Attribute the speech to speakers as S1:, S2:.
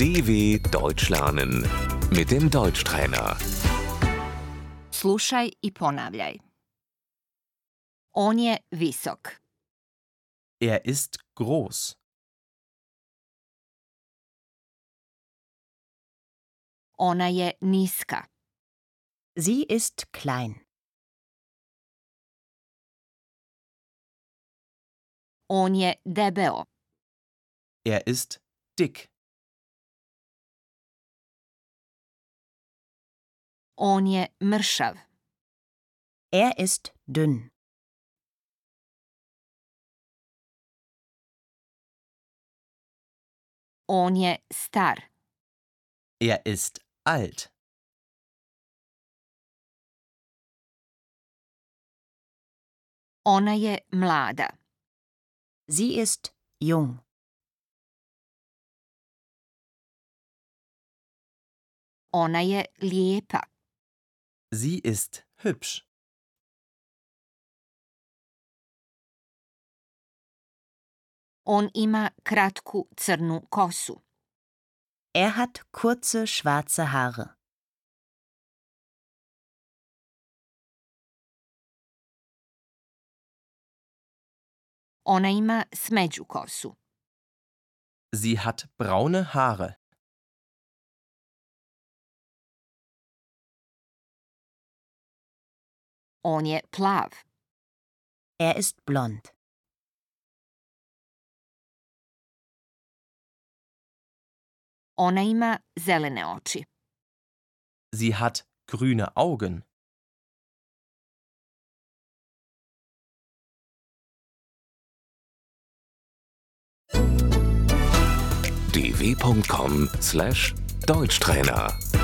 S1: DW Deutsch lernen mit dem Deutschtrainer.
S2: Slušaj i ponavljaj. On je visok.
S3: Er ist groß.
S2: Ona je niska.
S4: Sie ist klein.
S2: On je debeo.
S3: Er ist dick.
S2: On je mršav.
S4: Er ist dünn.
S2: On je star.
S3: Er ist alt.
S2: Ona je mlada.
S4: Sie ist jung.
S2: Ona je lijepa.
S3: Sie ist hübsch.
S2: On ima kratku crnu kosu.
S4: Er hat kurze schwarze Haare.
S2: Ona ima smeđu kosu.
S3: Sie hat braune Haare.
S2: On je plav.
S4: Er ist blond.
S2: Ona ima zelene oči.
S3: Sie hat grüne Augen.
S1: dw.com/deutschtrainer